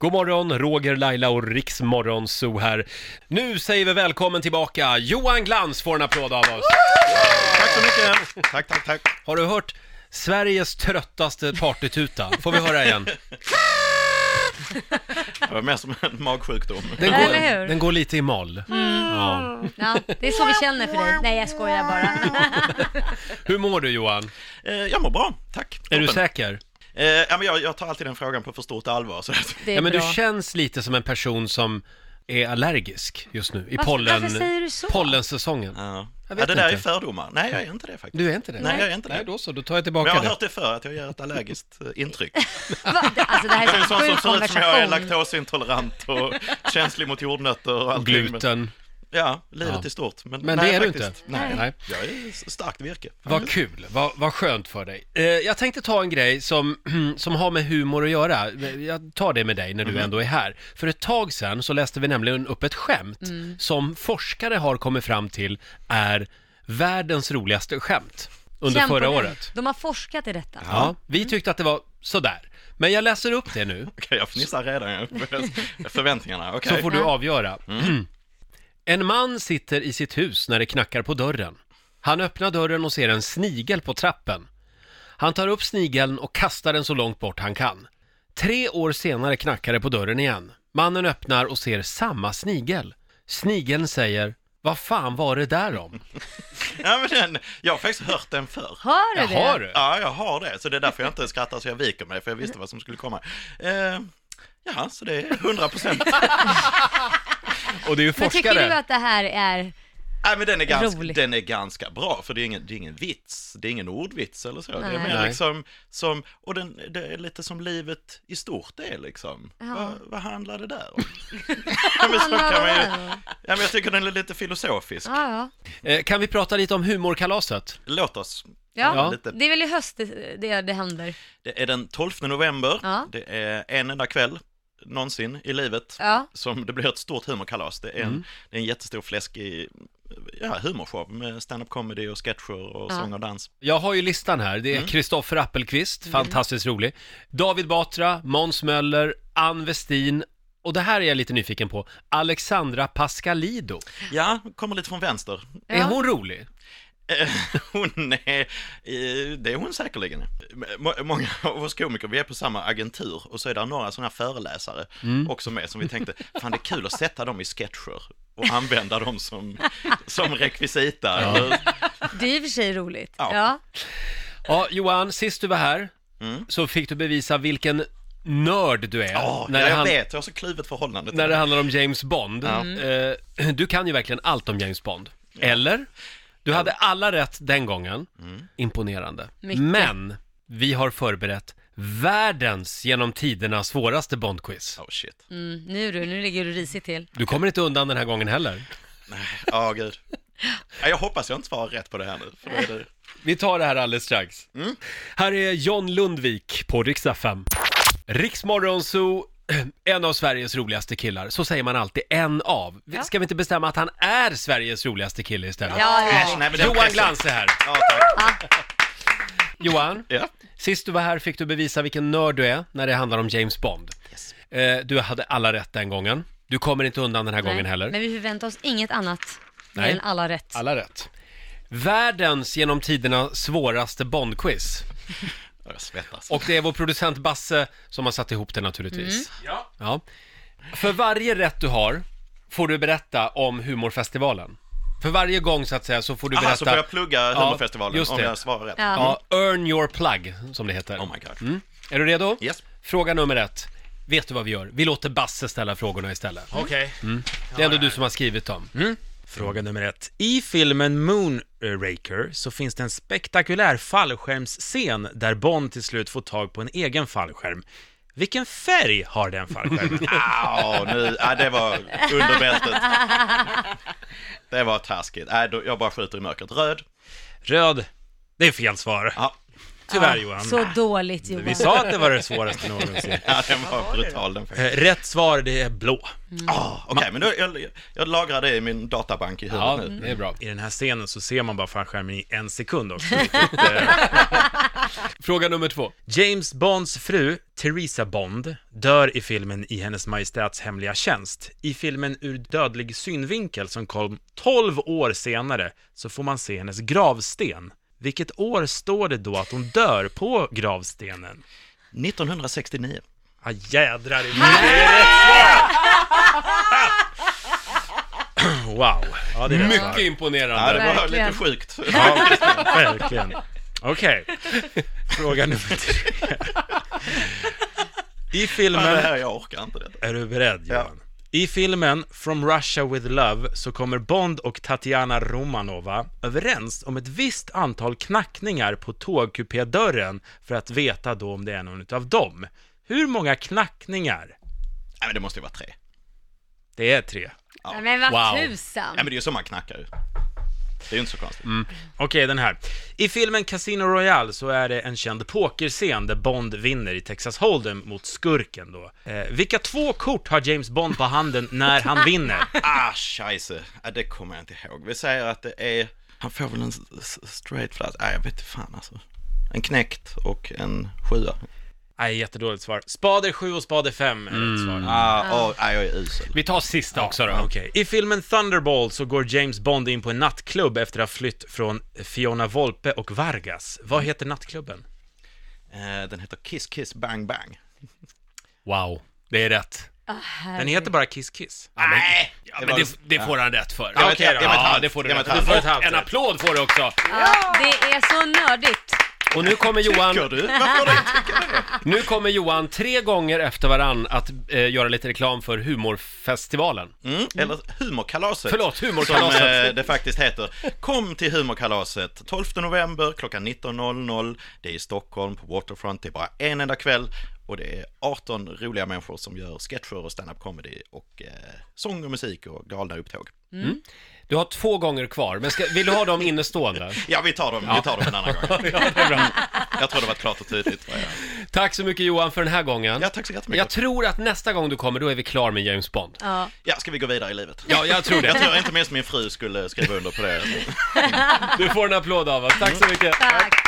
God morgon, Roger, Laila och Riksmorgon Zoo här. Nu säger vi välkommen tillbaka. Johan Glans får en applåd av oss. Tack så mycket! Tack, tack, tack. Har du hört Sveriges tröttaste partytuta? Får vi höra igen? Det var mer som en magsjukdom. Den Ja, går, eller hur? den går lite i moll. Ja. Ja, det är så vi känner för dig. Nej, jag skojar bara. Hur mår du Johan? Eh, Jag mår bra, tack. Är du Toppen. säker? Eh, Ja, men jag, jag tar alltid den frågan på för stort allvar. Så att, Det är Ja, men du bra. känns lite som en person som är allergisk just nu i Varför- pollen, varför säger du så? pollensäsongen. ja. Jag ja, vet det där inte. är fördomar. Nej, jag är inte det faktiskt. Du är inte det? Nej, jag är inte det. Nej, då så, då tar jag Men jag tillbaka har det. hört det för att jag gör ett allergiskt eh, intryck. Va? Det- Alltså det här Jag är är en så sån som sjuk ser ut som jag är konversation. laktosintolerant och känslig mot jordnötter och Och allting. gluten. Men, ja, livet Ja. i stort. Men, Men nej, det är du faktiskt, inte. Nej. Nej. jag är s- starkt virke. Vad kul, vad, vad skönt för dig. Eh, jag tänkte ta en grej som, som har med humor att göra. Jag tar det med dig när du ändå är här. För ett tag sedan så läste vi nämligen upp ett skämt som forskare har kommit fram till är världens roligaste skämt under Känn på förra dig. året. De har forskat i detta. Ja, vi tyckte att det var sådär. Men jag läser upp det nu, Okej, jag fnissar redan. Jag- Förväntningarna, okej. så får du avgöra. En man sitter i sitt hus när det knackar på dörren. Han öppnar dörren och ser en snigel på trappen. Han tar upp snigeln och kastar den så långt bort han kan. Tre år senare knackar det på dörren igen. Mannen öppnar och ser samma snigel. Snigeln säger, vad fan var det där om? Ja, men den, jag har faktiskt hört den förr. Hör du det? Jaha du! Ja, jag har det. Så det är därför jag inte skrattar så jag viker mig, för jag visste vad som skulle komma. Eh, ja, så det är 100 procent. Och det är ju Men tycker du forskare. att det här är... Nej, men den är, ganska, Roligt. den är ganska bra, för det är, ingen, det är ingen vits, det är ingen ordvits eller så. Det är Nej. mer Nej. liksom som, och den, det är lite som livet i stort är liksom. Vad, vad handlar det där om? ja, men så handlar kan man ju, det där om? ja, men jag tycker den är lite filosofisk. Ja, ja. Eh, Kan vi prata lite om humorkalaset? Låt oss. Ja. Ja, Lite. det är väl i höst det, det, det händer. Det är den 12 november, Ja. det är en enda kväll någonsin i livet. Ja. som det blir ett stort humorkalas. Det är en, Mm. det är en jättestor fläskig ja, humorshow med stand-up comedy och sketcher och Ja. sång och dans. Jag har ju listan här. Det är Mm. Kristoffer Appelqvist, fantastiskt rolig. David Batra, Måns Möller, Ann Westin och det här är jag lite nyfiken på. Alexandra Pascalido. Ja, kommer lite från vänster. Är Ja. hon rolig? Eh, Hon är, eh, det är hon säkerligen. Må- Många av oss komiker, vi är på samma agentur och så är det några sådana här föreläsare Mm. också med som vi tänkte, fan det är kul att sätta dem i sketcher och använda dem som, som rekvisita. Eller- Det är i och för sig roligt. Ja. Ja. Ja, Johan, sist du var här så fick du bevisa vilken nörd du är. Mm. Ja, när, det jag han- vet, jag har så kluvet förhållande till när det. det handlar om James Bond. Eh, du kan ju verkligen allt om James Bond. Eller? Du hade alla rätt den gången. Mm. Imponerande. Mycket. Men, vi har förberett världens genom tiderna svåraste Bond-quiz. Oh shit. Mm, nu du, nu ligger du risigt till. Du kommer inte undan den här gången heller. Ja, gud. Ja, Jag hoppas jag inte svarar rätt på det här nu, för då är det... Vi tar det här alldeles strax. Mm. Här är John Lundvik på riksdag 5. Riksmorgon Zoo, en av Sveriges roligaste killar. Så säger man alltid, en av. Ja. Ska vi inte bestämma att han är Sveriges roligaste kille istället? Ja, ja, Äsch, ja. nej, men den Johan pressen. Glans är här. Ja, tack. Johan, Ja. sist du var här fick du bevisa vilken nörd du är när det handlar om James Bond. Yes. Eh, du hade alla rätt den gången. Du kommer inte undan den här gången Nej, heller. Men vi förväntar oss inget annat Nej. Nej. än alla rätt. Alla rätt. Världens genom tiderna svåraste Bond-quiz. Jag svettas. Och det är vår producent Basse som har satt ihop det naturligtvis. Mm. Ja. För varje rätt du har får du berätta om humorfestivalen. För varje gång så att säga så får du berätta... Aha, så får jag plugga humorfestivalen just om det. jag svarar rätt? Ja. Ja, earn your plug som det heter. Oh my god. Är du redo? Yes. Fråga nummer ett. Vet du vad vi gör? Vi låter Basse ställa frågorna istället. Okej. Det är ändå du som har skrivit dem. Fråga nummer ett. I filmen Moonraker så finns det en spektakulär fallskärmsscen där Bond till slut får tag på en egen fallskärm. Vilken färg har den fallskärmen? Ja, Ah, nu, ja, det var under bältet. Det var taskigt. Nej, då, jag bara skjuter i mörkret. Röd. Ah. Röd. Det är fel svar. Ja. tyvärr Ja, Johan. Så dåligt Johan. Vi sa att det var det svåraste någonsin. Ja, den var brutal den Eh, faktiskt. Rätt svar, det är blå. Ah, Okej, men då, jag, jag lagrar det i min databank i Ja, huvudet nu. det är bra. I den här scenen så ser man bara fallskärmen i en sekund också. Eh, Fråga nummer två. James Bonds fru, Theresa Bond, dör i filmen I hennes majestäts hemliga tjänst. I filmen Ur dödlig synvinkel som kom 12 år senare så får man se hennes gravsten. Vilket år står det då att hon dör på gravstenen? 1969. Ah, jädrar i mig. Det är rätt svar! Wow. Ja, det är rätt svar. Mycket Ja, imponerande. det var Verkligen. lite sjukt. Ja, Mm. verkligen. Okej. Fråga nummer tre. I Men det filmen... här, jag orkar inte det. Är du beredd, Ja. Johan? I filmen From Russia with Love så kommer Bond och Tatiana Romanova överens om ett visst antal knackningar på tågkupédörren för att veta då om det är någon utav dem. Hur många knackningar? Nej, men det måste ju vara tre. Det är tre. Nej, men vad Wow. tusan. Nej, men det är ju så man knackar ju. Det är ju inte så konstigt. Okej, den här. I filmen Casino Royale så är det en känd pokerscen där Bond vinner i Texas Hold'em mot skurken då. Eh, vilka två kort har James Bond på handen när han vinner? Ah, scheisse. Ja, det kommer jag inte ihåg. Vi säger att det är... Han får väl en s- s- straight flash. Nej, jag vet inte fan alltså. En knäckt och en sjua. Nej, jättedåligt svar. Spader 7 och spader 5 är rätt svar. Ah, ah. ah, jag är usel. Vi tar sista också då. Okej. I filmen Thunderball så går James Bond in på en nattklubb efter att ha flytt från Fiona Volpe och Vargas. Vad heter nattklubben? Eh, den heter Kiss Kiss Bang Bang. Wow, det är rätt. Den heter bara Kiss Kiss. Nej, det men var- det, det får han rätt för. Ja, okej då. Jag vet Ja, halvt. det får du Jag rätt vet halvt. för. Du får ett halvt en rätt. applåd får du också. Ja, det är så nördigt. Och nu kommer Tycker Johan, du? Varför det? nu kommer Johan tre gånger efter varann att eh, göra lite reklam för humorfestivalen. Mm, eller Humorkalaset. Förlåt, Som humorkalaset. eh, det faktiskt heter. Kom till Humorkalaset 12 november klockan 19.00. Det är i Stockholm på Waterfront. Det är bara en enda kväll. Och det är 18 roliga människor som gör sketcher och stand-up comedy och eh, sång och musik och galna upptåg. Du har två gånger kvar, men ska, vill du ha dem innestående? Ja, vi tar dem. Vi tar dem en annan gång. Ja, det är bra. Jag tror det var klart och tydligt. vad jag- Tack så mycket Johan för den här gången. Ja, tack så Jag jättemycket. tror att nästa gång du kommer, då är vi klar med James Bond. Ja. Ja, ska vi gå vidare i livet? Ja, jag tror Jag det. tror inte minst min fru skulle skriva under på det. Du får en applåd av oss. Tack så mycket. Tack.